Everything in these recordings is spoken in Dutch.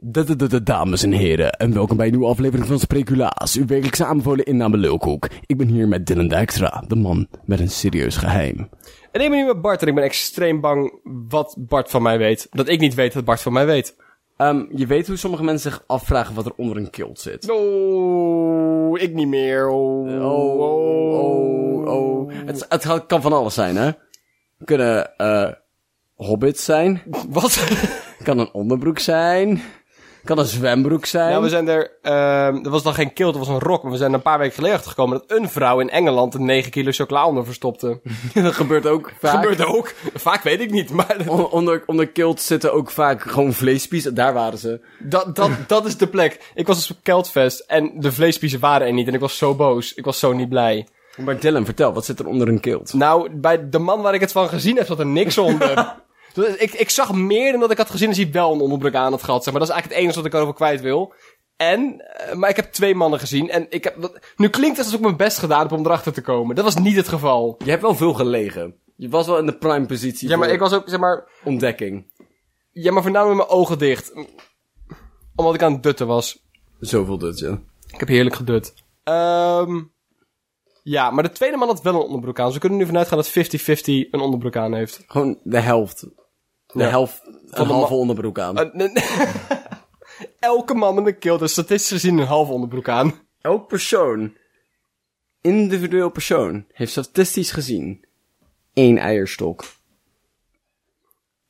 Da, da, da, da, dames en heren, en welkom bij een nieuwe aflevering van Spreculaas, uw wekelijkse aanbevolen inname Lulkoek. Ik ben hier met Dylan Dijkstra, de man met een serieus geheim. En ik ben nu met Bart en ik ben extreem bang wat Bart van mij weet. Dat ik niet weet wat Bart van mij weet. Ehm, je weet hoe sommige mensen zich afvragen wat er onder een kilt zit. Oh, ik niet meer. Oh, Oh, oh, oh. Het, het kan van alles zijn, hè? Kunnen eh hobbits zijn, Wat? kan een onderbroek zijn, kan een zwembroek zijn. nou, we zijn er... ehm er was dan geen kilt, er was een rok. Maar we zijn er een paar weken geleden gekomen dat een vrouw in Engeland een 9 kilo chocola onder verstopte. Dat gebeurt ook vaak. Gebeurt ook. Vaak weet ik niet, maar dat, On- onder, onder kilt zitten ook vaak gewoon vleespies, daar waren ze. dat, dat, dat is de plek. Ik was op een keltfest en de vleespiezen waren er niet. En ik was zo boos. Ik was zo niet blij. Maar Dylan, vertel, wat zit er onder een kilt? Nou, bij de man waar ik het van gezien heb, zat er niks onder. Dus ik, ik zag meer dan dat ik had gezien als hij wel een onderbroek aan had gehad. Zeg maar dat is eigenlijk het enige wat ik erover kwijt wil. En, eh, maar ik heb twee mannen gezien. En ik heb, dat, nu klinkt het alsof ik mijn best gedaan heb om erachter te komen. Dat was niet het geval. Je hebt wel veel gelegen. Je was wel in de prime positie Ja, maar voor ik was ook, zeg maar, ontdekking. ja, maar voornamelijk met mijn ogen dicht. Omdat ik aan het dutten was. Zoveel dut, ja. Ik heb heerlijk gedut. Ehm ja, maar de tweede man had wel een onderbroek aan. Dus we kunnen nu vanuit gaan dat 50-50 een onderbroek aan heeft. Gewoon de helft. De Ja. helft, een de halve onderbroek aan. Eh, nee, nee. Elke man met een kilt is statistisch gezien een half onderbroek aan. Elk persoon, individueel persoon, heeft statistisch gezien één eierstok.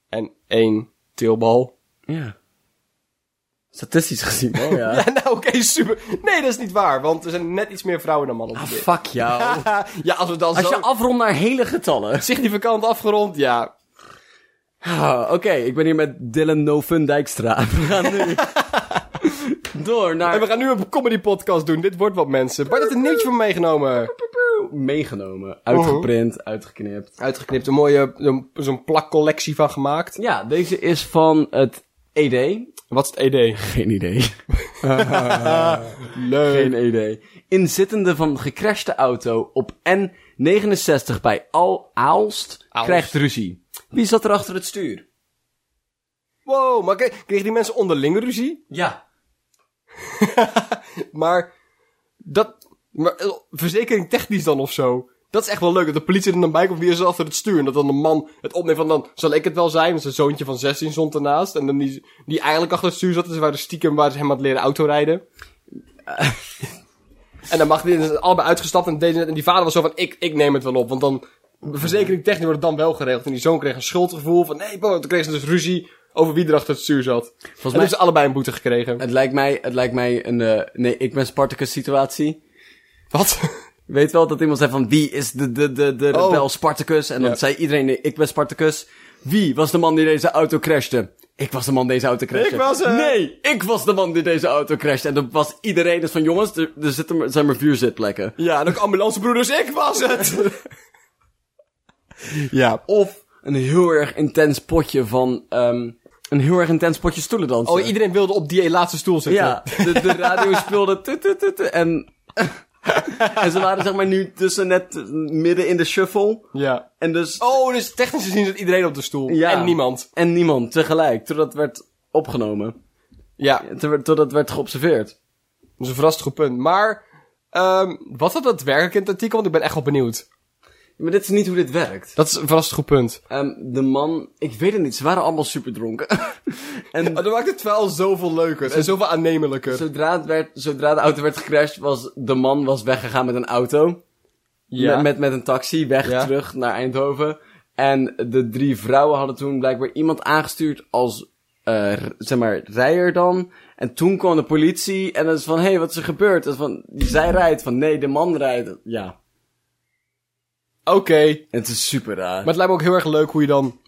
En één tilbal. Ja. Statistisch gezien, oh ja. Ja, nou oké, super. Nee, dat is niet waar, want er zijn net iets meer vrouwen dan mannen. op Ah, dit. fuck jou. ja, als we dan Als zo je afrondt naar hele getallen. significant afgerond, ja. Ah, Oké, ik ben hier met Dylan No Fun Dijkstra. We gaan nu door En we naar... gaan nu een comedy podcast doen, dit wordt wat mensen. Bart heeft een nieuwtje van me meegenomen. Meegenomen, uitgeprint, uitgeknipt. Uitgeknipt, een mooie, zo'n- zo'n plakcollectie van gemaakt. Ja, deze is van het E ED. Wat is het ED? Geen idee. Leuk. Geen ED. Inzittende van gecrashte auto op N69 bij Al Aalst Aalst. krijgt ruzie. Wie zat er achter het stuur? Wow, maar k- kregen die mensen onderling ruzie? Ja. Maar dat. Maar eh, verzekering technisch dan of zo. Dat is echt wel leuk. Dat de politie er dan bij komt wie is er achter het stuur. En dat dan de man het opneemt van dan zal ik het wel zijn. Dus een zoontje van 16 stond ernaast. En dan die, die eigenlijk achter het stuur zat. Dus waar de stiekem waar ze hem aan het leren autorijden. en dan mag die dus allebei uitgestapt. En, deze, en die vader was zo van ik, ik neem het wel op. Want dan verzekering technisch wordt het dan wel geregeld. En die zoon kreeg een schuldgevoel van nee, boh, toen kreeg ze dus ruzie over wie er achter het stuur zat. Volgens mij Eh, mij- hebben ze allebei een boete gekregen. Het lijkt mij, het lijkt mij een, eh, nee, ik ben Spartacus situatie. Wat? Je Weet wel dat iemand zei van wie is de, de, de, de Oh. rebel Spartacus? En dan Ja. zei iedereen nee, ik ben Spartacus. Wie was de man die deze auto crashte? Ik was de man die deze auto crashte. Ik was het. Nee, ik was de man die deze auto crashte. En dan was iedereen dus van jongens, er, er zitten, maar- zijn maar vier zitplekken. Ja, en ook ambulancebroeders, ik was het! ja. Of een heel erg intens potje van. ehm, een heel erg intens potje stoelen dansen. Oh, iedereen wilde op die laatste stoel zitten. ja, de, de radio speelde. tut, tut, tut, tut, en, en ze waren zeg maar nu tussen net eh, midden in de shuffle. ja. En dus. Oh, dus technisch gezien zit iedereen op de stoel. ja. En niemand. En niemand tegelijk, totdat werd opgenomen. Ja, Ter- Totdat werd geobserveerd. dat is een verrassend goed punt. Maar, ehm wat had dat werkelijk in het artikel? Want ik ben echt wel benieuwd. Maar dit is niet hoe dit werkt. Dat is een verrassend goed punt. Ehm, de man, ik weet het niet, ze waren allemaal super dronken. en Oh, dat maakt het wel zoveel leuker en zoveel aannemelijker. zodra, het werd, zodra de auto werd gecrashed, was de man was weggegaan met een auto. Ja. Met, met, met een taxi weg Ja. terug naar Eindhoven. En de drie vrouwen hadden toen blijkbaar iemand aangestuurd als, eh, r- zeg maar, rijer dan. En toen kwam de politie en dat is van, hé, hey, wat is er gebeurd? Dat is van, zij rijdt, van nee, de man rijdt. Ja, Oké. en het is super raar. Maar het lijkt me ook heel erg leuk hoe je dan...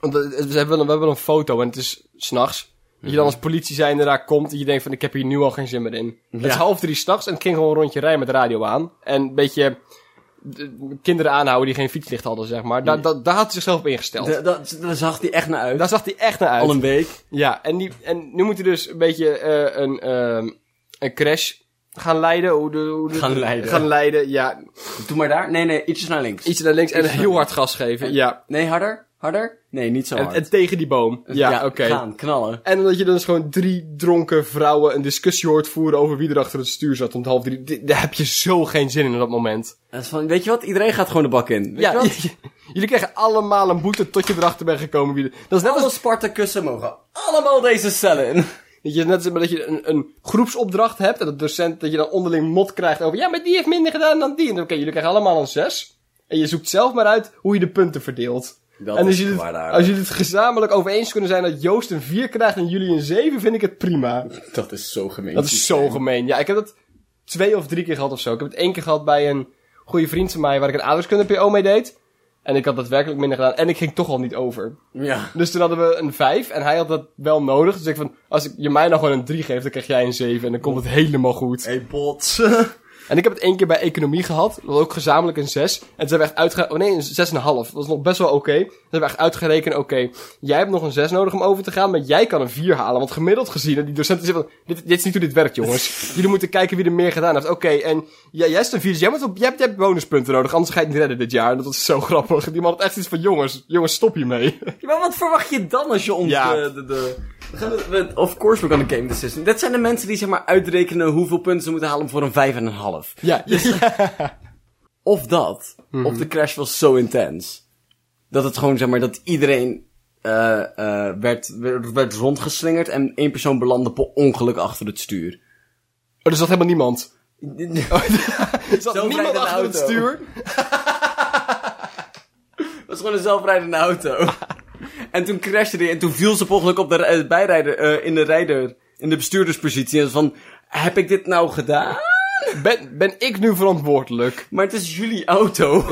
Want eh, we hebben, we hebben een foto en het is s'nachts. Dat je dan Mhm. als politie zijnde daar komt en je denkt van ik heb hier nu al geen zin meer in. Het is half drie s'nachts en het ging gewoon een rondje rijden met de radio aan. En een beetje eh, kinderen aanhouden die geen fietslicht hadden, zeg maar. Daar, daar, daar had hij zichzelf op ingesteld. Da- da- daar zag hij echt naar uit. Daar zag hij echt naar uit. Al een week. Ja, en, die, en nu moet hij dus een beetje eh, een, ehm, een crash gaan leiden. Hoe de, hoe de- Gaan leiden. Gaan leiden, ja. Doe maar daar. Nee, nee, ietsjes naar links. Iets naar links en heel hard gas geven, ja. Nee, harder. Harder? Nee, niet zo En, hard. Dus en tegen die boom. Ja, oké. Gaan, knallen. En omdat je dan dus gewoon drie dronken vrouwen een discussie hoort voeren over wie er achter het stuur zat om half drie. D- Daar heb je zo geen zin in op dat moment. Dat is van, weet je wat? Iedereen gaat gewoon de bak in. Weet je ja, wat? jullie krijgen allemaal een boete tot je erachter bent gekomen wie er... Dat is net Alle als, Spartacussen mogen allemaal deze cellen in. weet je, net als dat je een, een groepsopdracht hebt en de docent dat je dan onderling mot krijgt over... Ja, maar die heeft minder gedaan dan die. En dan, oké, jullie krijgen allemaal een zes. En je zoekt zelf maar uit hoe je de punten verdeelt. Dat en is als jullie, het, kwaadaardig. als jullie het gezamenlijk over eens kunnen zijn dat Joost een 4 krijgt en jullie een 7, vind ik het prima. Dat is zo gemeen. Dat is zo gemeen. Ja, ik heb dat twee of drie keer gehad of zo. Ik heb het één keer gehad bij een goede vriend van mij waar ik een aardrijkskunde PO mee deed. En ik had daadwerkelijk minder gedaan. En ik ging toch al niet over. Ja. Dus toen hadden we een vijf. En hij had dat wel nodig. Dus ik van, als ik, je mij nou gewoon een drie geeft, dan krijg jij een zeven. En dan komt het helemaal goed. Hey, bots. En ik heb het één keer bij economie gehad. Dat was ook gezamenlijk een 6. En toen zijn we echt uitgerekend... Oh nee, een 6,5. Dat was nog best wel oké. Toen hebben we echt uitgerekend... Oké, jij hebt nog een 6 nodig om over te gaan. Maar jij kan een 4 halen. Want gemiddeld gezien... en Die docenten zeggen van... Dit, dit is niet hoe dit werkt, jongens. Jullie moeten kijken wie er meer gedaan heeft. Oké, en jij, jij is een 4. Dus jij, moet op, jij, hebt, jij hebt bonuspunten nodig. Anders ga je het niet redden dit jaar. En dat was zo grappig. Die man had echt iets van... Jongens, jongens, stop hiermee. Ja, maar wat verwacht je dan als je ons Ja. de, de, de- We gaan- we- Of course we're gonna game the system. Dat zijn de mensen die zeg maar uitrekenen hoeveel punten ze moeten halen voor een vijf en een half. Ja, Of dat. Mhm. Of de crash was zo intens. Dat het gewoon zeg maar dat iedereen eh, eh, werd, werd, werd rondgeslingerd en één persoon belandde per ongeluk achter het stuur. Oh, er zat helemaal niemand. Er zat Zo niemand rijdt een achter het auto. stuur. Dat was gewoon een zelfrijdende auto. en toen crashte die en toen viel ze per ongeluk op de ri- eh, bijrijder, eh, in de rijder, in de bestuurderspositie. En van, heb ik dit nou gedaan? Ben, ben ik nu verantwoordelijk? Maar het is jullie auto.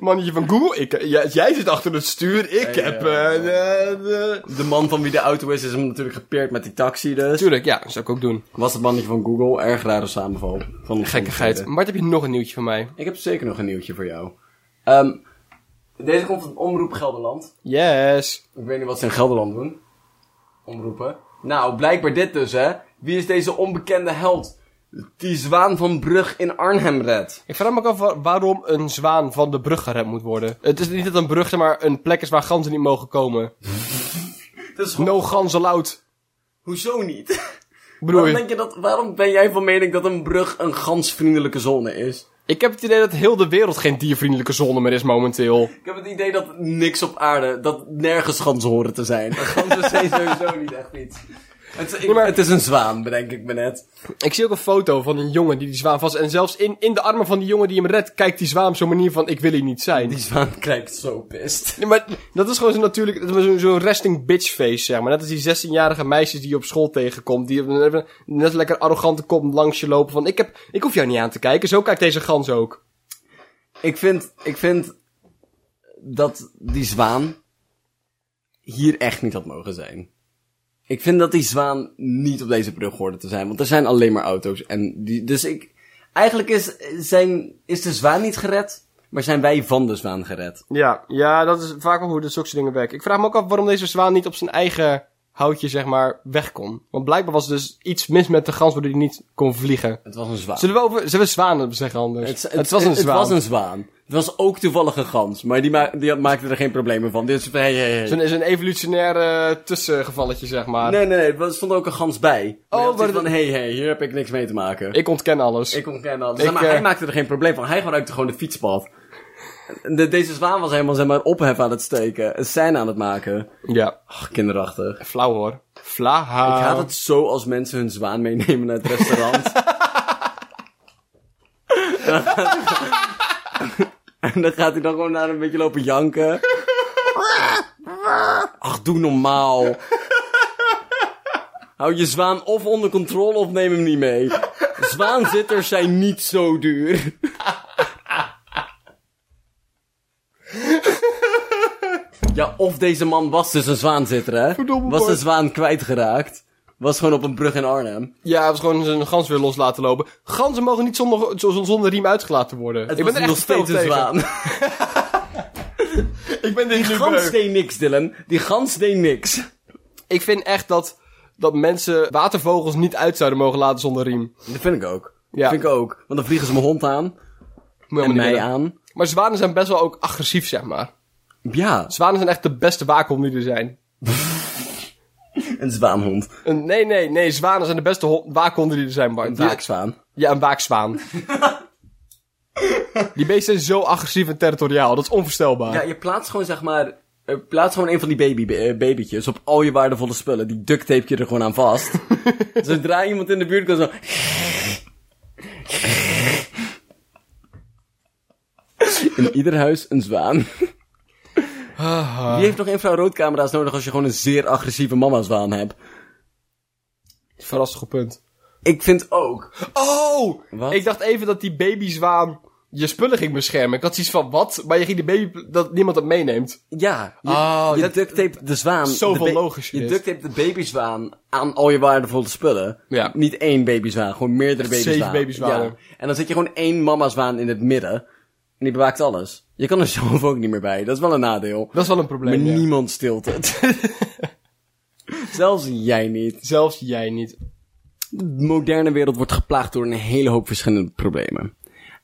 Mannetje van Google, ik, ja, jij zit achter het stuur, ik Ja, heb... ja, eh, eh, eh. de man van wie de auto is, is hem natuurlijk gepeerd met die taxi dus. Tuurlijk, ja, zou ik ook doen. Was het mannetje van Google. Erg rare samenval. Van Gekkigheid. Bart, heb je nog een nieuwtje van mij? Ik heb zeker nog een nieuwtje voor jou. Ehm, deze komt van Omroep Gelderland. Yes. Ik weet niet wat ze in Gelderland doen. Omroepen. Nou, blijkbaar dit dus, hè. Wie is deze onbekende held? Die zwaan van Brug in Arnhem redt. Ik vraag me ook af wa- waarom een zwaan van de brug gered moet worden. Het is niet dat een brug zeg maar een plek is waar ganzen niet mogen komen. Dat is No ganzen loud. Hoezo niet? Bedoel Waarom, je? denk je dat, waarom ben jij van mening dat een brug een gansvriendelijke zone is? Ik heb het idee dat heel de wereld geen diervriendelijke zone meer is momenteel. Ik heb het idee dat niks op aarde, dat nergens ganzen horen te zijn. Ganzen zijn sowieso niet echt iets. Het, is- ik- het is een zwaan, bedenk ik me net. Ik zie ook een foto van een jongen die die zwaan vast... En zelfs in, in de armen van die jongen die hem redt, kijkt die zwaan op zo'n manier van ik wil hier niet zijn. Die zwaan kijkt zo pist. Nee, maar dat is gewoon zo'n natuurlijk, dat is zo'n zo'n resting bitch face, zeg maar. Net als die 16-jarige meisjes die je op school tegenkomt, die even- net lekker arrogante kop langs je lopen van, ik heb, ik hoef jou niet aan te kijken, zo kijkt deze gans ook. Ik vind, ik vind dat die zwaan hier echt niet had mogen zijn. Ik vind dat die zwaan niet op deze brug hoorde te zijn, want er zijn alleen maar auto's. En die, dus ik, eigenlijk is, zijn, is de zwaan niet gered, maar zijn wij van de zwaan gered. Ja, ja, dat is vaak wel hoe dit soort dingen werken. Ik vraag me ook af waarom deze zwaan niet op zijn eigen houtje, zeg maar, weg kon. Want blijkbaar was er dus iets mis met de gans waardoor hij niet kon vliegen. Het was een zwaan. Zullen we over, zullen we zwanen zeggen anders? Het, Het, het- was een het- zwaan. Het was een zwaan. Het was ook toevallig een gans, maar die, ma die had- maakte er geen problemen van. Dit is hey, hey, hey. Zo'n zo'n evolutionair eh, tussengevalletje, zeg maar. Nee, nee, nee, er stond ook een gans bij. Oh, Oh, maar maar van, hey, hey, hier heb ik niks mee te maken. Ik ontken alles. Ik ontken dat. Ik, maar eh, hij maakte er geen probleem van. Hij gebruikte gewoon de fietspad. De, deze zwaan was helemaal zeg maar, ophef aan het steken. Een scène aan het maken. Ja. Ach, kinderachtig. Flauw hoor. Flaha. Ik haat het zo als mensen hun zwaan meenemen naar het restaurant. en dan gaat hij dan gewoon naar een beetje lopen janken. Ach, doe normaal. Hou je zwaan of onder controle of neem hem niet mee. Zwaanzitters zijn niet zo duur. Ja, of deze man was dus een zwaanzitter, hè? Verdomme, was de Bart. zwaan kwijtgeraakt. Was gewoon op een brug in Arnhem. Ja, het was gewoon zijn gans weer los laten lopen. Ganzen mogen niet zonder, zo- zo- zonder riem uitgelaten worden. Het ik ben was er echt nog steeds fel een tegen. zwaan. Ik ben er nu gans beu. deed niks, Dylan. Die gans deed niks. Ik vind echt dat, dat mensen watervogels niet uit zouden mogen laten zonder riem. Dat vind ik ook. Ja. Vind ik ook. Want dan vliegen ze mijn hond aan. Moet je en helemaal niet mij willen. aan. Maar zwanen zijn best wel ook agressief, zeg maar. Ja, Zwanen zijn echt de beste waakhonden die er zijn. een zwaanhond. Een- nee, nee, nee. Zwanen zijn de beste ho- waakhonden die er zijn, Bart. Een waakzwaan. Ja, een waakzwaan. die beesten zijn zo agressief en territoriaal. Dat is onvoorstelbaar. Ja, je plaatst gewoon zeg maar... eh, Plaats gewoon een van die baby, eh, babytjes op al je waardevolle spullen. Die duct tape je er gewoon aan vast. Zodra iemand in de buurt komt zo... In ieder huis een zwaan. Wie heeft nog infraroodcamera's nodig als je gewoon een zeer agressieve mama zwaan hebt? Verrassend goed punt. Ik vind ook. Oh! Wat? Ik dacht even dat die babyzwaan je spullen ging beschermen. Ik had zoiets van, wat? Maar je ging die baby... dat niemand dat meeneemt. Ja, je, Oh, je dat- duct tape de zwaan. Zoveel de ba- logischer Je is. duct tape de babyzwaan aan al je waardevolle spullen. Ja. Niet één babyzwaan, gewoon meerdere Zeven babyzwaan. babyzwanen. En dan zet je gewoon één mamazwaan in het midden. En die bewaakt alles. Je kan er zelf ook niet meer bij. Dat is wel een nadeel. Dat is wel een Maar probleem, ja. niemand stilt het. Zelfs jij niet. Zelfs jij niet. De moderne wereld wordt geplaagd door een hele hoop verschillende problemen.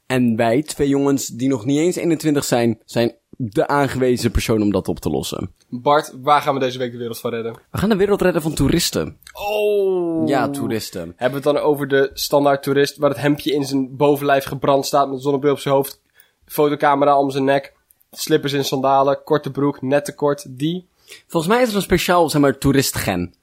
En wij, twee jongens die nog niet eens 21 zijn, zijn de aangewezen persoon om dat op te lossen. Bart, waar gaan we deze week de wereld van redden? We gaan de wereld redden van toeristen. Oh! Ja, toeristen. Hebben we het dan over de standaard toerist waar het hemdje in zijn bovenlijf gebrand staat met een zonnebril op zijn hoofd, fotocamera om zijn nek, slippers in sandalen, korte broek, net te kort, die? Volgens mij is er een speciaal, zeg maar, toeristgen.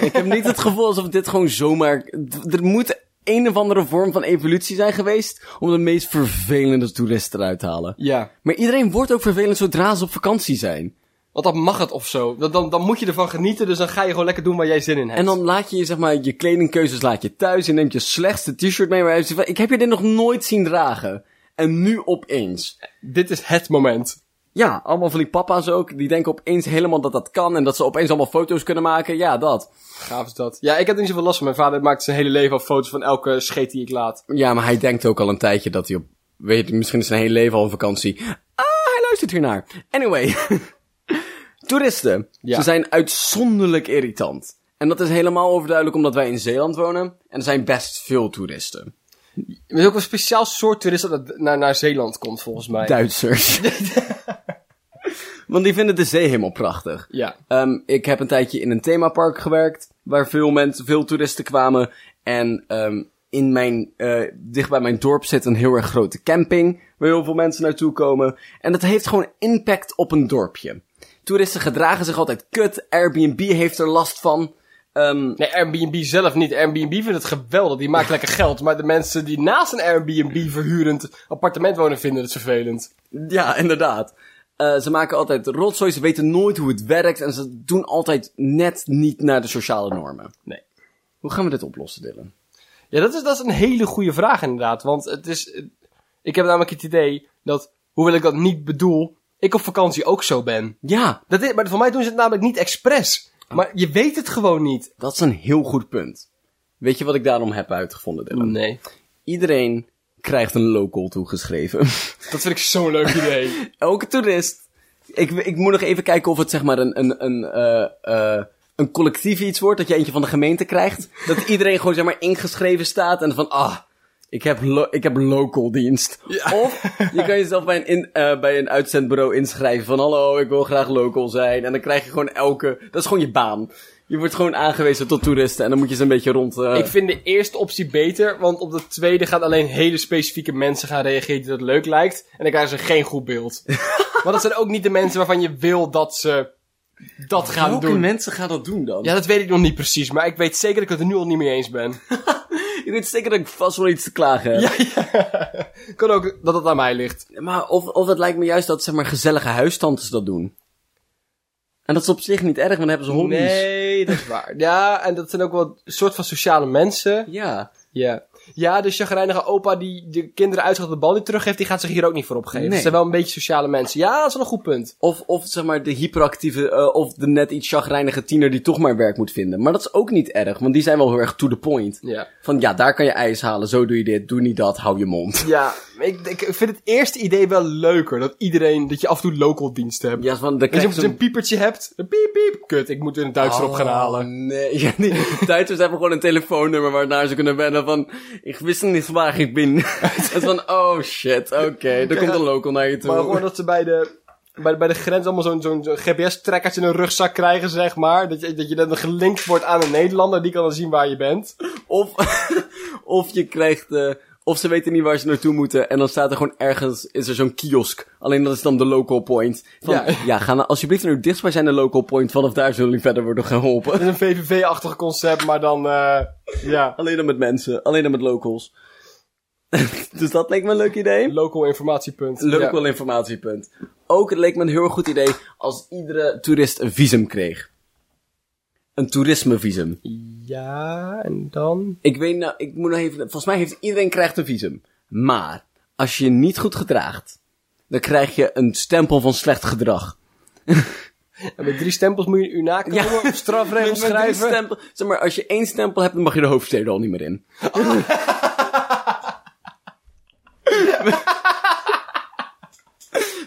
Ik heb niet het gevoel alsof dit gewoon zomaar... d- Er moet een of andere vorm van evolutie zijn geweest om de meest vervelende toeristen eruit te halen. Ja. Maar iedereen wordt ook vervelend zodra ze op vakantie zijn. Want dan mag het of zo. Dan, dan, dan moet je ervan genieten, dus dan ga je gewoon lekker doen waar jij zin in hebt. En dan laat je, je, zeg maar, je kledingkeuzes laat je thuis. Je neemt je slechtste t-shirt mee. Maar je zegt van, ik heb je dit nog nooit zien dragen. En nu opeens. Dit is het moment. Ja, allemaal van die papa's ook. Die denken opeens helemaal dat dat kan. En dat ze opeens allemaal foto's kunnen maken. Ja, dat. Gaaf is dat. Ja, ik heb er niet zoveel last van. Mijn vader maakt zijn hele leven al foto's van elke scheet die ik laat. Ja, maar hij denkt ook al een tijdje dat hij op... Weet je, misschien is zijn hele leven al op vakantie. Ah, hij luistert hiernaar. Anyway. Toeristen. Ja. Ze zijn uitzonderlijk irritant. En dat is helemaal overduidelijk omdat wij in Zeeland wonen. En er zijn best veel toeristen. Er is ook een speciaal soort toerist dat naar, naar Zeeland komt, volgens mij. Duitsers. Want die vinden de zee helemaal prachtig. Ja. Ehm, ik heb een tijdje in een themapark gewerkt. Waar veel mensen, veel toeristen kwamen. En ehm, in mijn, eh, dicht bij mijn dorp zit een heel erg grote camping. Waar heel veel mensen naartoe komen. En dat heeft gewoon impact op een dorpje. Toeristen gedragen zich altijd kut. Airbnb heeft er last van. Ehm, Nee, Airbnb zelf niet. Airbnb vindt het geweldig. Die maakt lekker geld. Maar de mensen die naast een Airbnb verhurend appartement wonen, vinden het vervelend. Ja, inderdaad. Eh, ze maken altijd rotzooi, ze weten nooit hoe het werkt en ze doen altijd net niet naar de sociale normen. Nee. Hoe gaan we dit oplossen, Dylan? Ja, dat is, dat is een hele goede vraag inderdaad. Want het is... eh, Ik heb namelijk het idee dat, hoewel ik dat niet bedoel, ik op vakantie ook zo ben. Ja, Dat is, maar voor mij doen ze het namelijk niet expres. Maar je weet het gewoon niet. dat is een heel goed punt. Weet je wat ik daarom heb uitgevonden, Dylan? Nee. Iedereen krijgt een local toegeschreven. Dat vind ik zo'n leuk idee. Elke toerist. Ik, ik moet nog even kijken of het zeg maar een, een, een, eh, eh, een collectief iets wordt. Dat je eentje van de gemeente krijgt. Dat iedereen gewoon zeg maar ingeschreven staat. En van ah, ik heb, lo- ik heb local dienst. Of je kan jezelf bij een, in, eh, bij een uitzendbureau inschrijven. Van hallo, ik wil graag local zijn. En dan krijg je gewoon elke... Dat is gewoon je baan. Je wordt gewoon aangewezen tot toeristen. En dan moet je ze een beetje rond... eh, ik vind de eerste optie beter, want op de tweede gaan alleen hele specifieke mensen gaan reageren die dat leuk lijkt. En dan krijgen ze geen goed beeld. maar dat zijn ook niet de mensen waarvan je wil dat ze dat gaan Welke doen. mensen gaan dat doen dan? Ja, dat weet ik nog niet precies, maar ik weet zeker dat ik het er nu al niet mee eens ben. Ik weet zeker dat ik vast wel iets te klagen heb. ja, ja. Kan ook dat het aan mij ligt. Maar of, of het lijkt me juist dat zeg maar gezellige huistantes dat doen. En dat is op zich niet erg, want dan hebben ze hobby's. Nee, dat is waar. Ja, en dat zijn ook wel een soort van sociale mensen. Ja. Ja. Ja, de chagrijnige opa die de kinderen uitschat de bal niet teruggeeft, die gaat zich hier ook niet voor opgeven. Nee. Ze zijn wel een beetje sociale mensen. Ja, dat is wel een goed punt. Of, of zeg maar de hyperactieve, eh, of de net iets chagrijnige tiener die toch maar werk moet vinden. Maar dat is ook niet erg, want die zijn wel heel erg to the point. Ja. Van ja, daar kan je ijs halen, zo doe je dit, doe niet dat, hou je mond. Ja, ik, ik vind het eerste idee wel leuker. Dat iedereen, dat je af en toe local diensten hebt. Ja, van, dan Als krijg je je een, zo'n- een piepertje hebt, dan piep piep. Kut, ik moet weer een Duitser op gaan halen. Oh, Nee, ja, die Duitsers hebben gewoon een telefoonnummer waarnaar ze kunnen bellen van... Ik wist niet waar ik ben. Het is van, oh shit, oké, er komt een local naar je toe. Maar gewoon dat ze bij de bij, bij de grens allemaal zo'n zo'n zo'n GPS-trekkertje in een rugzak krijgen, zeg maar. Dat je, dat je dan gelinkt wordt aan een Nederlander, die kan dan zien waar je bent. Of, of je krijgt, eh, of ze weten niet waar ze naartoe moeten. En dan staat er gewoon ergens, is er zo'n kiosk. Alleen dat is dan de local point. Van, ja. Ja. ga nou alsjeblieft naar uw dichtstbijzijnde local point. Vanaf daar zullen jullie verder worden geholpen. Dat is een VVV-achtig concept, maar dan, eh, ja. Alleen dan met mensen, alleen dan met locals. dus dat leek me een leuk idee. Local informatiepunt. Local informatiepunt. Ook het leek me een heel goed idee als iedere toerist een visum kreeg. Een toerismevisum. Ja. ja, en dan? Ik weet nou, ik moet nog even, volgens mij heeft iedereen krijgt een visum. Maar, als je je niet goed gedraagt, dan krijg je een stempel van slecht gedrag. En met drie stempels moet je u nakomen, Ja. op strafregels Met drie schrijven. stempel- zeg maar, als je één stempel hebt, dan mag je de hoofdsteden al niet meer in.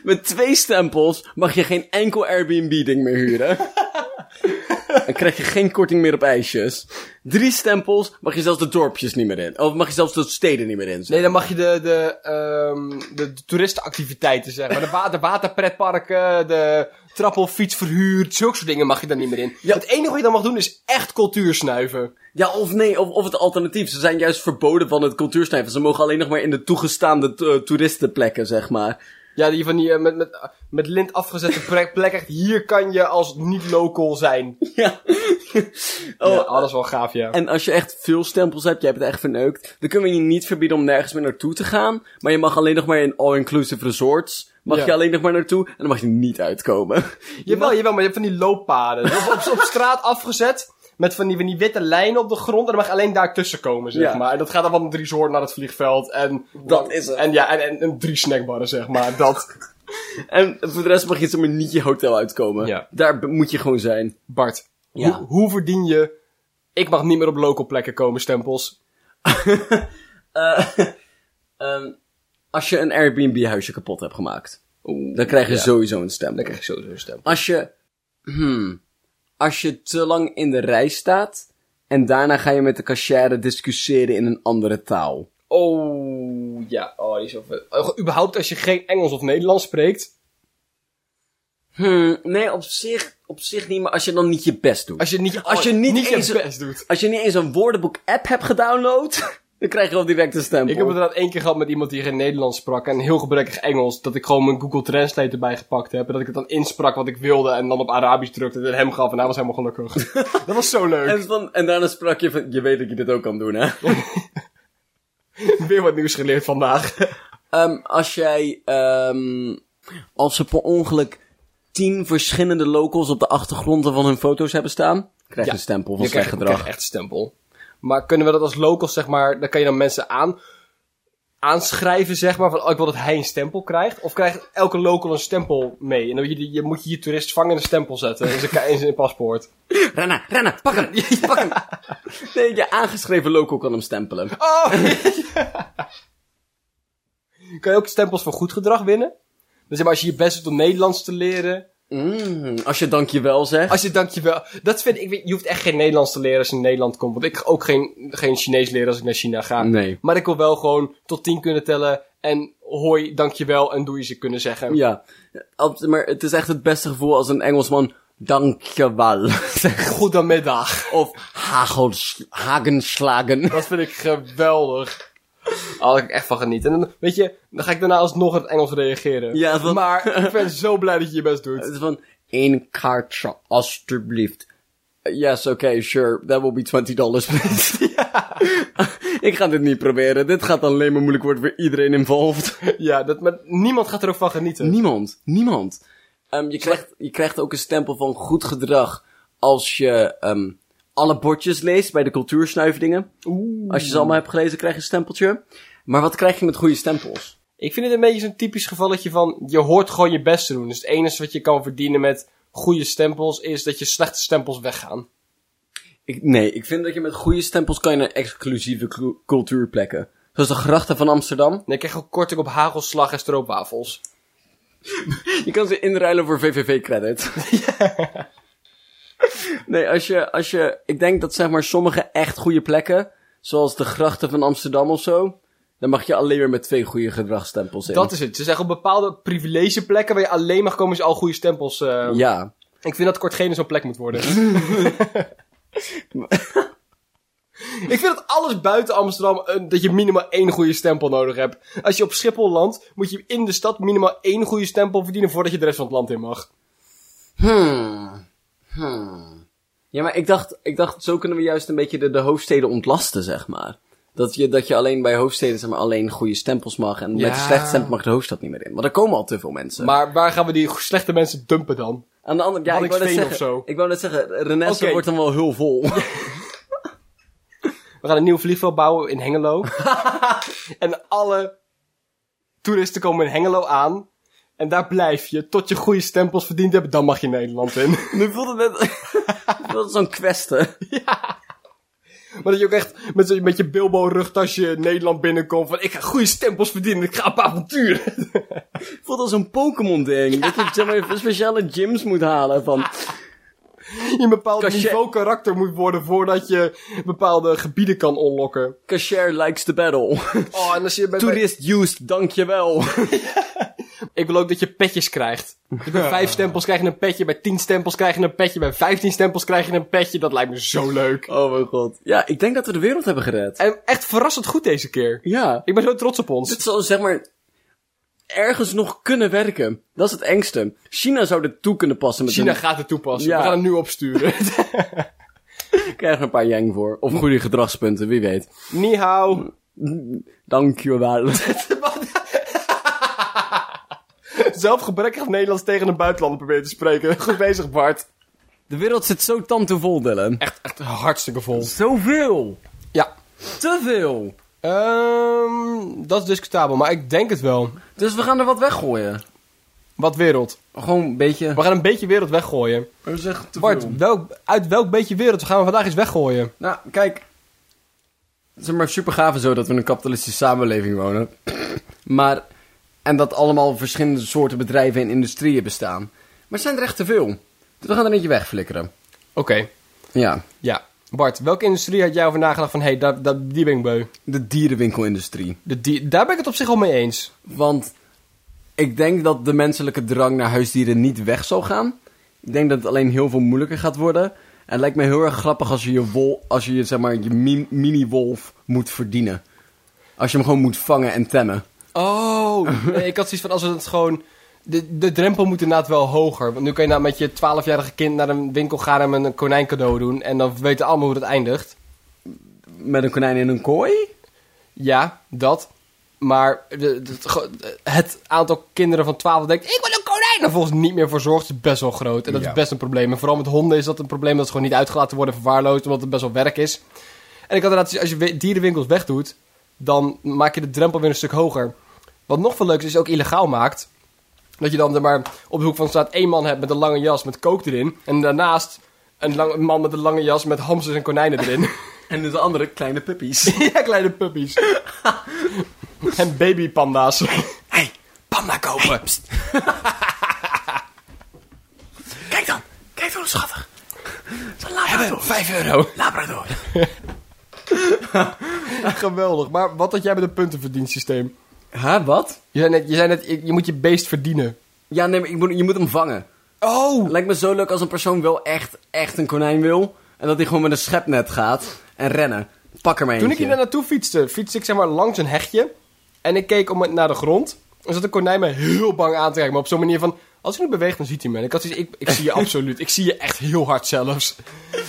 Met twee stempels mag je geen enkel Airbnb-ding meer huren. Dan krijg je geen korting meer op ijsjes. Drie stempels mag je zelfs de dorpjes niet meer in. Of mag je zelfs de steden niet meer in. Nee, dan mag je de, de, ehm, de, de toeristenactiviteiten, zeg maar. De, wa- de waterpretparken, de trappelfietsverhuur, zulke soort dingen mag je daar niet meer in. Ja. Het enige wat je dan mag doen is echt cultuur snuiven. Ja, of nee, of, of het alternatief. Ze zijn juist verboden van het cultuursnijven. Ze mogen alleen nog maar in de toegestaande eh, toeristenplekken, zeg maar. Ja, die van die eh, met, met, met lint afgezette plek, plek echt, hier kan je als niet-local zijn. Ja. Oh, Oh, ja, oh, dat is wel gaaf, ja. En als je echt veel stempels hebt, jij hebt het echt verneukt, dan kunnen we je niet verbieden om nergens meer naartoe te gaan. Maar je mag alleen nog maar in all-inclusive resorts. Mag Ja. je alleen nog maar naartoe en dan mag je niet uitkomen. Jawel, jawel, maar je hebt van die looppaden. Dat is op, op straat afgezet, met van die, van die witte lijnen op de grond. En dan mag je alleen daar tussen komen, zeg Ja. maar. En dat gaat dan van het resort naar het vliegveld. En, Dat is het. En ja, en, en, en drie snackbarren, zeg maar. Dat. En voor de rest mag je zomaar niet je hotel uitkomen. Ja. Daar be- moet je gewoon zijn. Bart, Ja. hoe, hoe verdien je... Ik mag niet meer op local plekken komen, stempels. Eh, Ehm, als je een Airbnb-huisje kapot hebt gemaakt, dan krijg je sowieso een stempel. krijg ik sowieso een stempel. Als je, hmm, als je te lang in de rij staat en daarna ga je met de cashier discussiëren in een andere taal. Oh, ja. Oh, die is wel vet. Oh, überhaupt als je geen Engels of Nederlands spreekt... Hmm, nee, op zich, op zich niet, maar als je dan niet je best doet. Als je niet, Als je Oh, niet eens- je best doet. Als je niet eens een woordenboek-app hebt gedownload, dan krijg je al direct een stempel. Ik heb het inderdaad één keer gehad met iemand die geen Nederlands sprak en heel gebrekkig Engels. Dat ik gewoon mijn Google Translate erbij gepakt heb. En dat ik het dan insprak wat ik wilde en dan op Arabisch drukte en het hem gaf. En hij was helemaal gelukkig. dat was zo leuk. en, van, en daarna sprak je van, je weet dat je dit ook kan doen, hè? Weer wat nieuws geleerd vandaag. Ehm, als jij, ehm, als ze per ongeluk tien verschillende locals op de achtergronden van hun foto's hebben staan, krijg je Ja. een stempel van Je slecht krijgt, je krijgt gedrag. echt stempel. Maar kunnen we dat als locals, zeg maar, dan kan je dan mensen aan, aanschrijven, zeg maar, van oh, ik wil dat hij een stempel krijgt. Of krijgt elke local een stempel mee. En dan moet je, je moet je je toerist vangen en een stempel zetten in zijn, ka- in zijn paspoort. Renna, Renna, pak hem, pak hem. Nee, je aangeschreven local kan hem stempelen. Oh! kan je ook stempels voor goed gedrag winnen? Dus zeg maar, als je je best doet om Nederlands te leren. Mm, als je dankjewel zegt. Als je dankjewel... Dat vind ik... weet- Je hoeft echt geen Nederlands te leren als je in Nederland komt. Want ik ga ook geen, geen Chinees leren als ik naar China ga. Nee. Maar ik wil wel gewoon tot tien kunnen tellen. En hoi, dankjewel en doe je ze kunnen zeggen. Ja, Ab- maar het is echt het beste gevoel als een Engelsman dankjewel zegt. Goedemiddag. Of hagels, hagenslagen. Dat vind ik geweldig. Oh, daar kan ik echt van genieten. En dan, weet je, dan ga ik daarna alsnog in het Engels reageren. Ja, want- Maar ik ben zo blij dat je je best doet. Het is van, één kaartje, alstublieft. Yes, oké, sure, that will be 20 dollars, please. Ik ga dit niet proberen. Dit gaat alleen maar moeilijk worden voor iedereen involved. Ja, dat, maar niemand gaat er ook van genieten. Niemand, niemand. Ehm, je, krijgt, je krijgt ook een stempel van goed gedrag als je ehm, alle bordjes leest bij de cultuursnuiveringen. Oeh. Als je ze allemaal hebt gelezen, krijg je een stempeltje. Maar wat krijg je met goede stempels? Ik vind het een beetje zo'n typisch gevalletje van... Je hoort gewoon je best te doen. Dus het enige wat je kan verdienen met goede stempels... is dat je slechte stempels weggaan. Ik, nee, ik vind dat je met goede stempels kan je naar exclusieve clu- cultuurplekken. Zoals de grachten van Amsterdam. En ik krijg ook korting op hagelslag en stroopwafels. Je kan ze inruilen voor VVV-credit. Nee, als je, als je... Ik denk dat zeg maar sommige echt goede plekken... Zoals de grachten van Amsterdam of zo... dan mag je alleen weer met twee goede gedragsstempels in. Dat is het. Ze zeggen op bepaalde privilegeplekken waar je alleen mag komen als je al goede stempels... eh, Ja. Ik vind dat Kortgene zo'n plek moet worden. Ik vind dat alles buiten Amsterdam eh, dat je minimaal één goede stempel nodig hebt. Als je op Schiphol landt, moet je in de stad minimaal één goede stempel verdienen voordat je de rest van het land in mag. Hmm. Hmm. Ja, maar ik dacht, ik dacht, zo kunnen we juist een beetje de, de hoofdsteden ontlasten, zeg maar. Dat je, dat je alleen bij hoofdsteden zeg maar, alleen goede stempels mag. En met Ja. een slechte stempel mag de hoofdstad niet meer in. Maar er komen al te veel mensen. Maar waar gaan we die slechte mensen dumpen dan? Aan de andere ja, ik wou net Waddinxveen zeggen, of zo. ik wou net zeggen, Renesse Oké. wordt dan wel heel vol. We gaan een nieuw vliegveld bouwen in Hengelo. en alle toeristen komen in Hengelo aan. En daar blijf je tot je goede stempels verdiend hebt. Dan mag je Nederland in. nu voelde het net, voelde het zo'n kwestie. Maar dat je ook echt met, zo- met je Bilbo-rugtasje Nederland binnenkomt. Van ik ga goede stempels verdienen. Ik ga op avontuur. voelt als een Pokémon-ding. Dat je zeg maar, speciale gyms moet halen. Van, je een bepaald Cachet. niveau karakter moet worden voordat je bepaalde gebieden kan unlocken. cashier likes the battle. Oh, en als je bij- Tourist used, dankjewel. Ik wil ook dat je petjes krijgt. Dus bij vijf stempels krijg je een petje, bij tien stempels krijg je een petje, bij vijftien stempels krijg je een petje. Dat lijkt me zo leuk. Oh mijn god. Ja, ik denk dat we de wereld hebben gered. En echt verrassend goed deze keer. Ja. Ik ben zo trots op ons. Dit zou zeg maar ergens nog kunnen werken. Dat is het engste. China zou dit toe kunnen passen met China een... gaat het toepassen. Ja. We gaan het nu opsturen. krijgen er een paar yang voor. Of goede gedragspunten, wie weet. Ni hao. Dankjewel. Zelfgebrekkig Nederlands tegen een buitenlander proberen te spreken. Goed bezig, Bart. De wereld zit zo tandevol, Dylan. Echt, echt hartstikke vol. Zoveel. Ja. Te veel. Ehm, dat is discutabel, maar ik denk het wel. Dus we gaan er wat weggooien. Wat wereld. Gewoon een We beetje... gaan een beetje wereld weggooien. We zeggen te Bart, welk, uit welk beetje wereld gaan we vandaag eens weggooien? Nou, kijk. Het is maar super gaaf en zo dat we in een kapitalistische samenleving wonen. Maar, en dat allemaal verschillende soorten bedrijven en industrieën bestaan. Maar het zijn er echt te veel. Dus we gaan er eentje wegflikkeren. Oké, Ja. ja. Bart, welke industrie had jij over nagedacht van, hé, hey, daar, daar, die ben ik beu? De dierenwinkelindustrie. De die- daar ben ik het op zich al mee eens. Want ik denk dat de menselijke drang naar huisdieren niet weg zal gaan. Ik denk dat het alleen heel veel moeilijker gaat worden. En het lijkt me heel erg grappig als je je wol, als je je, zeg maar, je mi- mini-wolf moet verdienen. Als je hem gewoon moet vangen en temmen. Oh, nee, ik had zoiets van, als we het gewoon... De, de drempel moet inderdaad wel hoger. Want nu kan je nou met je 12-jarige kind naar een winkel gaan en hem een konijn cadeau doen. En dan weten allemaal hoe dat eindigt. Met een konijn in een kooi? Ja, dat. Maar de- de- het ge- het aantal kinderen van 12 dat denkt, ik wil een konijn! En volgens niet meer voor zorgt, is best wel groot. En dat Ja. is best een probleem. En vooral met honden is dat een probleem dat ze gewoon niet uitgelaten worden, verwaarloosd, omdat het best wel werk is. En ik had inderdaad, zoiets, als je we- dierenwinkels wegdoet, dan maak je de drempel weer een stuk hoger. Wat nog veel leuks is, ook illegaal maakt. Dat je dan er maar op de hoek van de straat één man hebt met een lange jas met kook erin. En daarnaast een, lang, een man met een lange jas met hamsters en konijnen erin. En dus andere kleine puppies. Ja, kleine puppies. en babypanda's. hey, Panda kopen. kijk dan. Kijk dan, schattig. Zo'n labrador. 5 euro. labrador. Geweldig. Maar wat had jij met een puntenverdiensysteem? Ha, wat? Je zei net, je, zei net je, je moet je beest verdienen. Ja, nee, maar ik moet, je moet hem vangen. Oh! Lijkt me zo leuk als een persoon wel echt, echt een konijn wil. En dat hij gewoon met een schepnet gaat en rennen. Pak er maar Toen ik eentje. hier naartoe fietste, fietste ik zeg maar langs een hegje. En ik keek om, naar de grond. En zat een konijn me heel bang aan te kijken. Maar op zo'n manier van, als hij nu beweegt, dan ziet hij me. En ik had zoiets, ik, ik zie je absoluut. Ik zie je echt heel hard zelfs.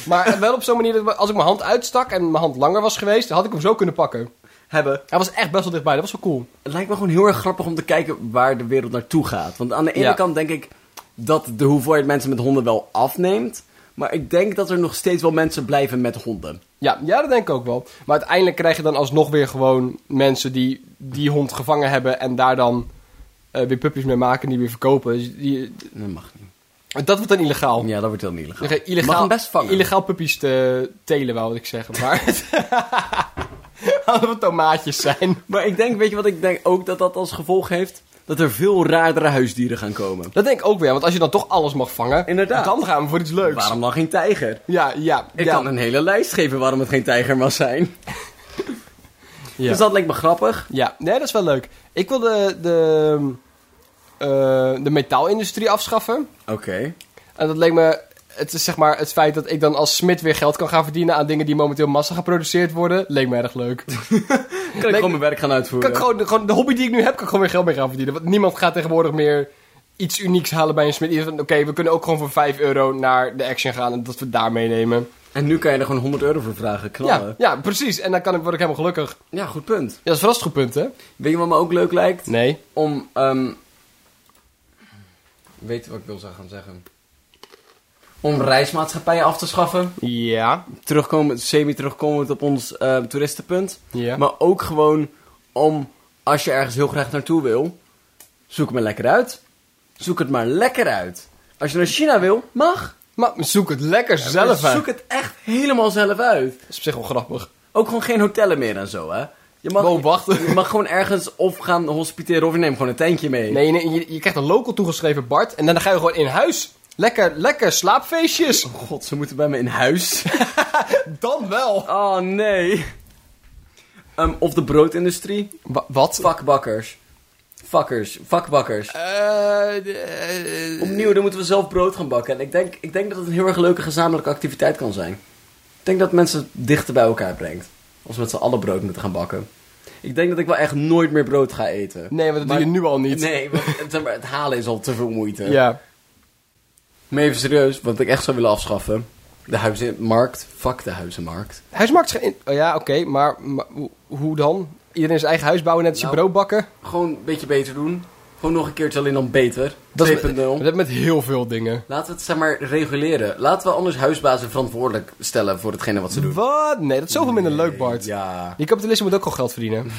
Maar wel op zo'n manier dat als ik mijn hand uitstak en mijn hand langer was geweest, had ik hem zo kunnen pakken. hebben. Hij was echt best wel dichtbij, dat was wel cool. Het lijkt me gewoon heel erg grappig om te kijken waar de wereld naartoe gaat. Want aan de ene Ja. kant denk ik dat de hoeveelheid mensen met honden wel afneemt. Maar ik denk dat er nog steeds wel mensen blijven met honden. Ja, ja, dat denk ik ook wel. Maar uiteindelijk krijg je dan alsnog weer gewoon mensen die die hond gevangen hebben en daar dan eh, weer puppies mee maken en die weer verkopen. Dus die- Dat mag niet. dat wordt dan illegaal. Ja, dat wordt heel niet illegaal. Dan ga je illegaal, mag hem best vangen. illegaal puppies te telen, wou ik zeggen. Maar hadden we tomaatjes zijn. Maar ik denk, weet je wat ik denk ook dat dat als gevolg heeft? Dat er veel raardere huisdieren gaan komen. Dat denk ik ook weer, want als je dan toch alles mag vangen, Inderdaad. dan gaan we voor iets leuks. Waarom dan geen tijger? Ja, ja. Ik ja. kan een hele lijst geven waarom het geen tijger mag zijn. Ja. Dus dat leek me grappig. Ja, nee, dat is wel leuk. Ik wil de, de, eh, de metaalindustrie afschaffen. Oké. En dat leek me... Het is zeg maar het feit dat ik dan als smid weer geld kan gaan verdienen aan dingen die momenteel massa geproduceerd worden. Leek me erg leuk. Kan ik gewoon mijn werk gaan kan uitvoeren? ik gewoon, gewoon de hobby die ik nu heb, kan ik gewoon weer geld mee gaan verdienen. Want niemand gaat tegenwoordig meer iets unieks halen bij een smid. Iedereen van, Oké, we kunnen ook gewoon voor 5 euro naar de action gaan en dat we daar meenemen. En nu kan je er gewoon 100 euro voor vragen, knallen. Ja, Ja, ja, precies. En dan kan ik, word ik helemaal gelukkig. Ja, goed punt. dat is verrast goed punt, hè? Weet je wat me ook leuk lijkt? Nee. Om, ehm Weet je wat ik wil zou gaan zeggen? Om reismaatschappijen af te schaffen. Ja. Terugkomen, semi-terugkomend op ons eh, toeristenpunt. Ja. Maar ook gewoon om, als je ergens heel graag naartoe wil, zoek het maar lekker uit. Zoek het maar lekker uit. Als je naar China wil, mag. Maar zoek het lekker zelf Maar uit. Zoek het echt helemaal zelf uit. Dat is op zich wel grappig. Ook gewoon geen hotellen meer en zo, hè. Je mag, Wow, wacht. je mag gewoon ergens of gaan hospiteren of je neemt gewoon een tentje mee. Nee, nee, je, je krijgt een local toegeschreven Bart en dan ga je gewoon in huis. Lekker, lekker slaapfeestjes. God, ze moeten bij me in huis. Dan wel. Oh nee. Ehm, of de broodindustrie. Wa- wat? Vakbakkers. Vakkers. Vakbakkers. Eh, eh, Opnieuw, dan moeten we zelf brood gaan bakken. En ik denk, ik denk dat het een heel erg leuke gezamenlijke activiteit kan zijn. Ik denk dat mensen het dichter bij elkaar brengt. Als we met z'n allen brood moeten gaan bakken. Ik denk dat ik wel echt nooit meer brood ga eten. nee, want dat Maar- doe je nu al niet. Nee, want het, zeg maar, het halen is al te veel moeite. Ja. Maar even serieus, wat ik echt zou willen afschaffen. De huizenmarkt. Fuck de huizenmarkt. Huismarkt is geen... Oh ja, oké, maar, maar hoe- hoe dan? Iedereen zijn eigen huis bouwen, net als je Nou, brood bakken? Gewoon een beetje beter doen. Gewoon nog een keertje alleen dan beter. 2.0. Dat is met, dat is met heel veel dingen. Laten we het zeg maar reguleren. Laten we anders huisbazen verantwoordelijk stellen voor hetgene wat ze doen. Wat? Nee, dat is zoveel minder leuk, Bart. Ja. Die kapitalist moet ook al geld verdienen.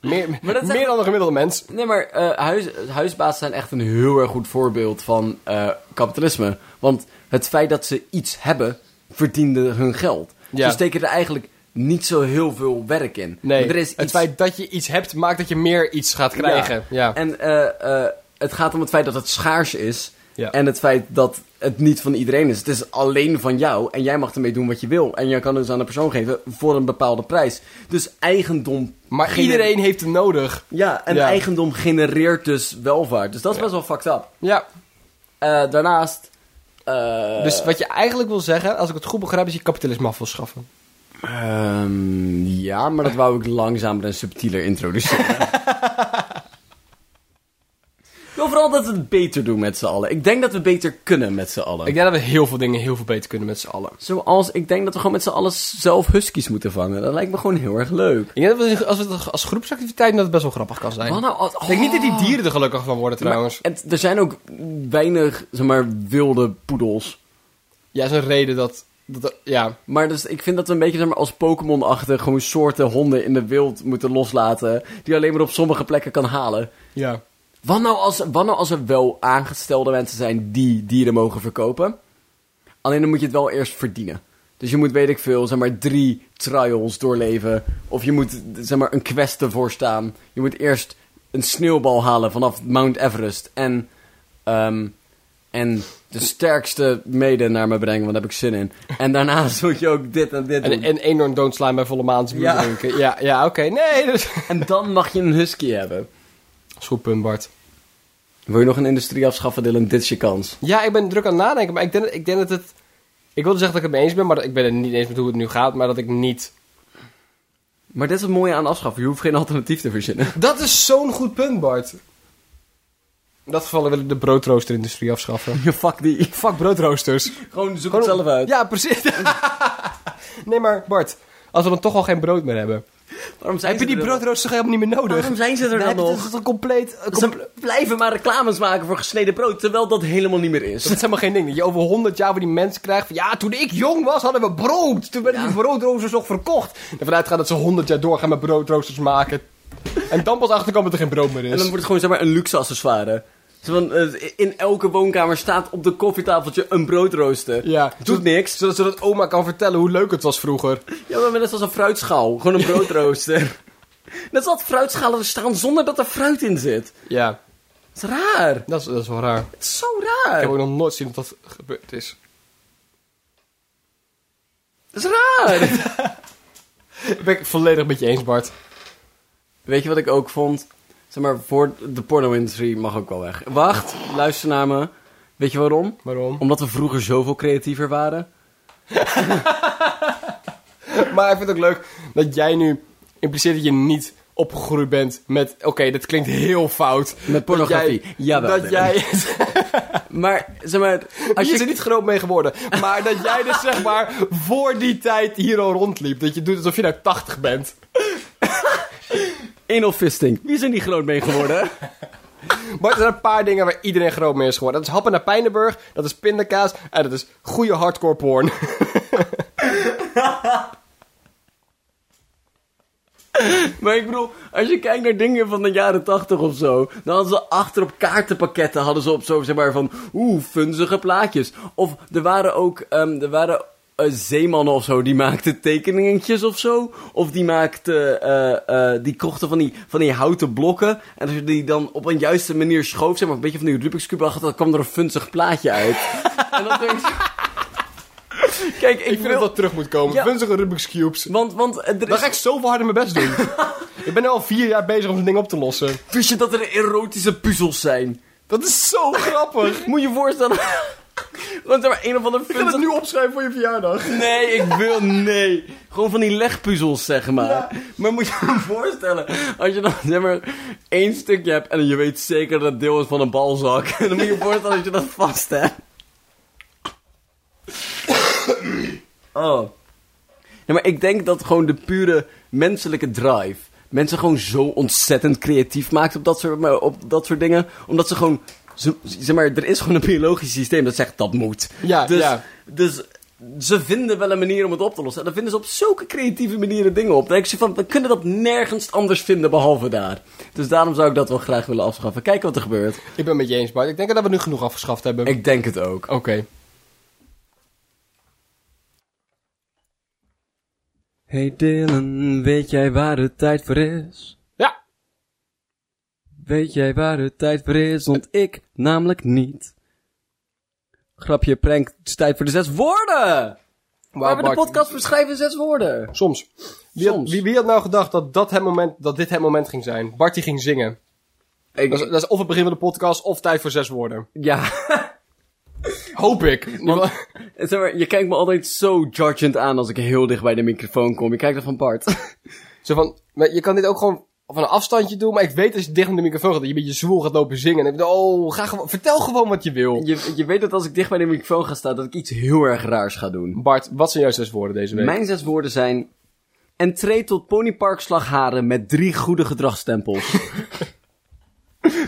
meer Maar dat is meer echt- dan een gemiddelde mens. Nee, maar eh, huis, huisbazen zijn echt een heel erg goed voorbeeld van eh, kapitalisme. Want het feit dat ze iets hebben, verdiende hun geld. Ja. Ze steken er eigenlijk niet zo heel veel werk in. Nee, Maar er is het iets- feit dat je iets hebt, maakt dat je meer iets gaat krijgen. Ja. En eh, eh, het gaat om het feit dat het schaars is. Ja. En het feit dat het niet van iedereen is. Het is alleen van jou. En jij mag ermee doen wat je wil. En jij kan het dus aan de persoon geven voor een bepaalde prijs. Dus eigendom. Maar gener- iedereen heeft het nodig. Ja, en Ja. eigendom genereert dus welvaart. Dus dat is best wel fucked up. Ja. Eh, daarnaast. eh, Dus wat je eigenlijk wil zeggen, als ik het goed begrijp, is je kapitalisme af wil schaffen. ehm, ja, maar dat wou ik langzamer en subtieler introduceren. Ik wil vooral dat we het beter doen met z'n allen. Ik denk dat we beter kunnen met z'n allen. Ik denk dat we heel veel dingen heel veel beter kunnen met z'n allen. Zoals, ik denk dat we gewoon met z'n allen zelf huskies moeten vangen. Dat lijkt me gewoon heel erg leuk. Ik denk dat we, als we het als groepsactiviteit dat het best wel grappig kan zijn. Wat nou als- Ik denk niet dat die dieren er gelukkig van worden trouwens. En t- er zijn ook weinig, zeg maar, wilde poedels. Ja, is een reden dat... dat, dat- ja. Maar dus, ik vind dat we een beetje zeg maar, als Pokémon-achtig gewoon soorten honden in de wild moeten loslaten. Die je alleen maar op sommige plekken kan halen. ja. Wat nou als, wat nou als er wel aangestelde mensen zijn die dieren mogen verkopen? Alleen dan moet je het wel eerst verdienen. Dus je moet, weet ik veel, zeg maar drie trials doorleven. Of je moet, zeg maar, een quest ervoor staan. Je moet eerst een sneeuwbal halen vanaf Mount Everest. En, ehm, en de sterkste mede naar me brengen, want daar heb ik zin in. En daarna moet je ook dit en dit doen. En, en enorm doodslaan bij volle maan te Ja. drinken. Ja, ja oké. Nee, dat is... en dan mag je een husky hebben. Dat is goed punt, Bart. Wil je nog een industrie afschaffen, Dylan? Dit is je kans. Ja, ik ben druk aan het nadenken, maar ik denk, ik denk dat het... Ik wilde zeggen dat ik het mee eens ben, maar dat- ik ben het niet eens met hoe het nu gaat, maar dat ik niet... Maar dit is het mooie aan afschaffen. Je hoeft geen alternatief te verzinnen. Dat is zo'n goed punt, Bart. In dat geval wil ik de broodroosterindustrie afschaffen. Je fuck die. Fuck broodroosters. Gewoon zoek Gewoon- het zelf uit. Ja, precies. nee, maar Bart, als we dan toch al geen brood meer hebben... Waarom zijn Heb je die er dan? broodrooster helemaal niet meer nodig? Waarom zijn ze er Dan dan heb je- nog? Dat is een compleet... een Ze compleet- blijven maar reclames maken voor gesneden brood, terwijl dat helemaal niet meer Dat is. is helemaal geen ding. Dat je over 100 jaar van die mensen krijgt van... Ja, toen ik jong was, hadden we brood. Toen werden die broodroosters nog verkocht. En vanuit gaat dat ze 100 jaar doorgaan met broodroosters maken. En dan pas achterkomen dat er geen brood meer En dan is. wordt het gewoon zeg maar een luxe accessoire. Zo van, eh, in elke woonkamer staat op de koffietafeltje een broodrooster. Ja. Doet niks. Zodat, zodat oma kan vertellen hoe leuk het was vroeger. Ja, maar net als een fruitschaal. Gewoon een broodrooster. net als dat fruitschalen er staan zonder dat er fruit in zit. Ja, Dat is raar. dat is, dat is wel raar. Het is zo Ik raar. heb ook nog nooit zien dat dat gebeurd is. Dat is raar. ben ik volledig met je eens, Bart. Weet je wat ik ook vond? Zeg maar, voor de porno-industrie mag ook wel weg. Wacht, luister naar me. Weet je waarom? Waarom? Omdat we vroeger zoveel creatiever waren. Maar ik vind het ook leuk dat jij nu impliceert dat je niet opgegroeid bent met... Oké, dat klinkt heel fout. Met pornografie. Dat jij... Jawel, dat Dylan. jij Maar, zeg maar, Als als je is er je... niet groot mee geworden. Maar dat jij dus zeg maar voor die tijd hier al rondliep. Dat je doet alsof je nou 80 bent. Anal fisting. Wie is er niet groot mee geworden? Maar er zijn een paar dingen waar iedereen groot mee is geworden. Dat is happen naar Pijnenburg. Dat is pindakaas. En dat is goede hardcore porn. Maar ik bedoel, als je kijkt naar dingen van de jaren 80 of zo, dan hadden ze achter op kaartenpakketten hadden ze op zo zeg maar van oeh, funzige plaatjes. Of er waren ook ehm, er waren eh, zeemannen of zo die maakten tekeningetjes of zo, of die maakten eh, eh, die kochten van die van die houten blokken en als je die dan op een juiste manier schoof, zeg maar een beetje van die Rubik's cube achter, dan kwam er een funzig plaatje uit. en dan denk ik zo- Kijk, ik, Ik vind dat dat terug moet komen. Ja. Vunzige Rubik's Cubes. want, want eh, er Dan is ga ik zoveel harder mijn best doen. ik ben nu al vier jaar bezig om zo'n ding op te lossen. Wist je dat er erotische puzzels zijn? Dat is zo grappig. Moet je je voorstellen. Gewoon zeg maar een of andere Ik ga het funzig... nu opschrijven voor je verjaardag. Nee, ik wil nee. Gewoon van die legpuzzels, zeg maar. Maar moet je je voorstellen, als je dan zeg maar één stukje hebt en je weet zeker dat het deel is van een balzak. Dan moet je je voorstellen dat je dat vast hebt. Oh. Ja, maar ik denk dat gewoon de pure menselijke drive mensen gewoon zo ontzettend creatief maakt op dat soort, maar op dat soort dingen. Omdat ze gewoon, ze- zeg maar, er is gewoon een biologisch systeem dat zegt dat moet. Ja, dus, ja. dus ze vinden wel een manier om het op te lossen. En dan vinden ze op zulke creatieve manieren dingen op. Dan denk ik zo van, we kunnen dat nergens anders vinden behalve daar. Dus daarom zou ik dat wel graag willen afschaffen. Kijken wat er gebeurt. Ik ben met je eens, Bart. Ik denk dat we nu genoeg afgeschaft hebben. Ik denk het ook. Oké. Hey Dylan, weet jij waar het tijd voor is? Ja. Weet jij waar het tijd voor is? Want ik namelijk niet. Grapje, prank, het is tijd voor de zes woorden! We Wauw, hebben de Bart. podcast beschreven in zes woorden. Soms. Wie, Had, Soms. wie, wie had nou gedacht dat, dat, het moment, dat dit het moment ging zijn? Bart die ging zingen. Dat is, dat is of het begin van de podcast of tijd voor zes woorden. ja, Hoop ik. zeg maar, je kijkt me altijd zo judgend aan als ik heel dicht bij de microfoon kom. Je kijkt er van Bart. Zo van, maar je kan dit ook gewoon van een afstandje doen, maar ik weet als je dicht op de microfoon gaat dat je een beetje zwoel gaat lopen zingen. En ik denk, oh, ga gewoon, vertel gewoon wat je wil. Je, je weet dat als ik dicht bij de microfoon ga staan, dat ik iets heel erg raars ga doen. Bart, wat zijn jouw zes woorden deze week? Mijn zes woorden zijn... Entree tot Ponypark Slagharen met drie goede gedragstempels.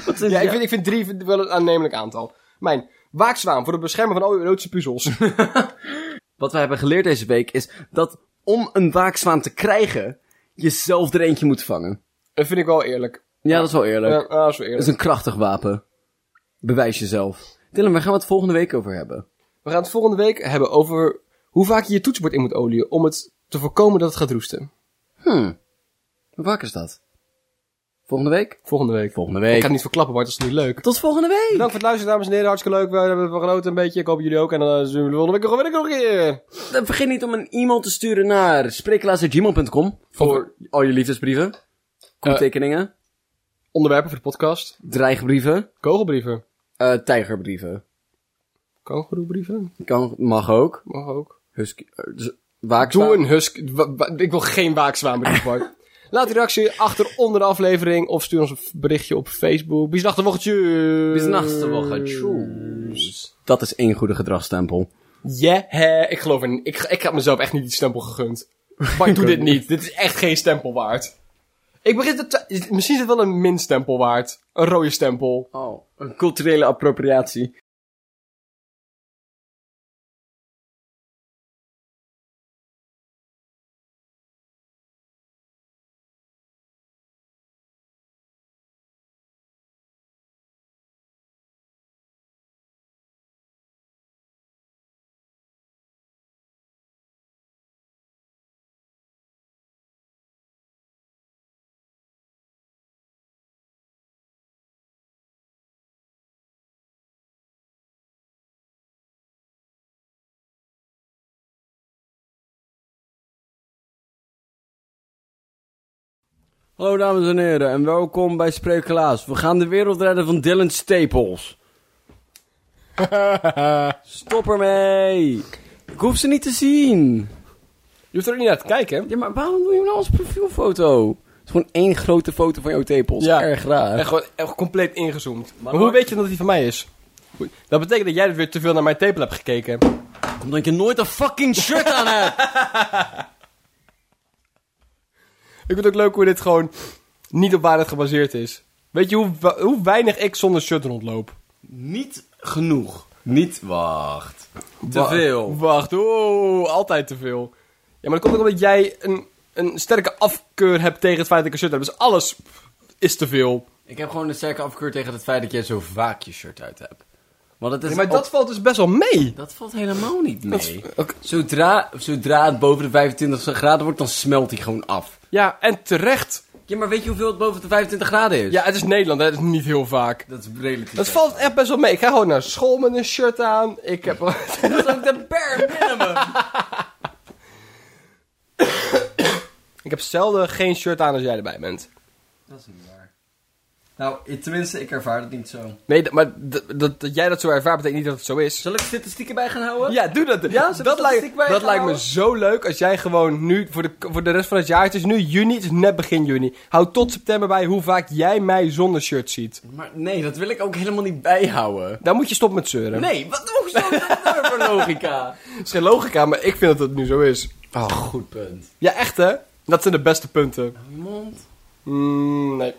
Wat is Ja, ik jou- vind, ik vind drie wel een aannemelijk aantal. Mijn waakzwaan voor het beschermen van al je erotische puzzels. Wat wij hebben geleerd deze week is dat om een waakzwaan te krijgen, je zelf er eentje moet vangen. dat vind ik wel eerlijk. Ja, dat is wel eerlijk. Ja, ah, dat is wel Dat is eerlijk. een krachtig wapen. Bewijs jezelf. Dylan, waar gaan we het volgende week over hebben? We gaan het volgende week hebben over hoe vaak je je toetsenbord in moet olieën om het te voorkomen dat het gaat roesten. Hmm. Hoe vaak is dat? Volgende week? Volgende week. Volgende Ik week. ga het niet verklappen, Bart, dat is niet leuk. Tot volgende week! Bedankt voor het luisteren, dames en heren. Hartstikke leuk. We hebben van genoten een beetje. Ik hoop jullie ook. En dan eh, zien we volgende week nog weer een keer. En Eh, Vergeet niet om een e-mail te sturen naar spreeklaas.gmail.com voor al je liefdesbrieven, koeltekeningen, Eh. Onderwerpen voor de podcast. dreigbrieven, Kogelbrieven. eh, tijgerbrieven. Kogelbrieven? Kan, mag ook. Mag ook. Husky, eh, dus Doe waakzaam. een husk. wa- wa- Ik wil geen waakzwaanbrief, Bart. Laat die reactie achter onder de aflevering. Of stuur ons een berichtje op Facebook. Bis nachten, wochtje. Bis nachts Woche. Tjoes. Dat is één goede gedragsstempel. Yeah. Ik geloof in... Ik, ik heb mezelf echt niet die stempel gegund. Bart, doe dit niet. Dit is echt geen stempel waard. Ik begin te... twi- Misschien is het wel een minstempel waard. Een rode stempel. Oh, een culturele appropriatie. Hallo dames en heren en welkom bij Spreeklaas. We gaan de wereld redden van Dylan Staples. Stop ermee! Ik hoef ze niet te zien. Je hoeft er ook niet naar te kijken. Ja, maar waarom doe je hem nou als profielfoto? Het is gewoon één grote foto van jouw tepels. Ja. Erg raar. En gewoon echt compleet ingezoomd. Maar, Maar- hoe weet je dat die van mij is? Oei, Dat betekent dat jij dus weer te veel naar mijn tepel hebt gekeken. Omdat je nooit een fucking shirt aan hebt. Ik vind het ook leuk hoe dit gewoon niet op waarheid gebaseerd is. Weet je hoe, wa- hoe weinig ik zonder shirt rondloop? niet genoeg. Niet, wacht. Te Wa- veel. Wacht, oeh, altijd te veel. Ja, maar dat komt ook omdat jij een, een sterke afkeur hebt tegen het feit dat ik een shirt heb. Dus alles is te veel. Ik heb gewoon een sterke afkeur tegen het feit dat jij zo vaak je shirt uit hebt. Want het is Nee, maar dat valt dus best wel mee. Dat valt helemaal niet mee. Oké. Zodra, zodra het boven de 25 graden wordt, dan smelt hij gewoon af. Ja, en terecht. Ja, maar weet je hoeveel het boven de 25 graden is? Ja, het is Nederland, hè. dat is niet heel vaak. Dat is relatief. Dat valt echt best wel mee. Ik ga gewoon naar school met een shirt aan. Ik heb... dat is ook de bare minimum. Ik heb zelden geen shirt aan als jij erbij bent. dat is niet waar. Nou, tenminste, ik ervaar het niet zo. Nee, dat- maar d- dat, dat jij dat zo ervaart betekent niet dat het zo is. Zal ik statistieken bij gaan houden? Ja, doe dat. Ja, zullen we dat statistiek lijkt, bij dat gaan lijkt me houden? zo leuk als jij gewoon nu, voor de, voor de rest van het jaar, het is nu juni, het is net begin juni. Hou tot september bij hoe vaak jij mij zonder shirt ziet. Maar nee, dat wil ik ook helemaal niet bijhouden. Daar moet je stop met zeuren. Nee, wat hoe zo dat is nou weer voor logica? Dat is geen logica, maar ik vind dat het nu zo is. Oh, goed punt. Ja, echt hè? Dat zijn de beste punten. Mond. Mm, nee.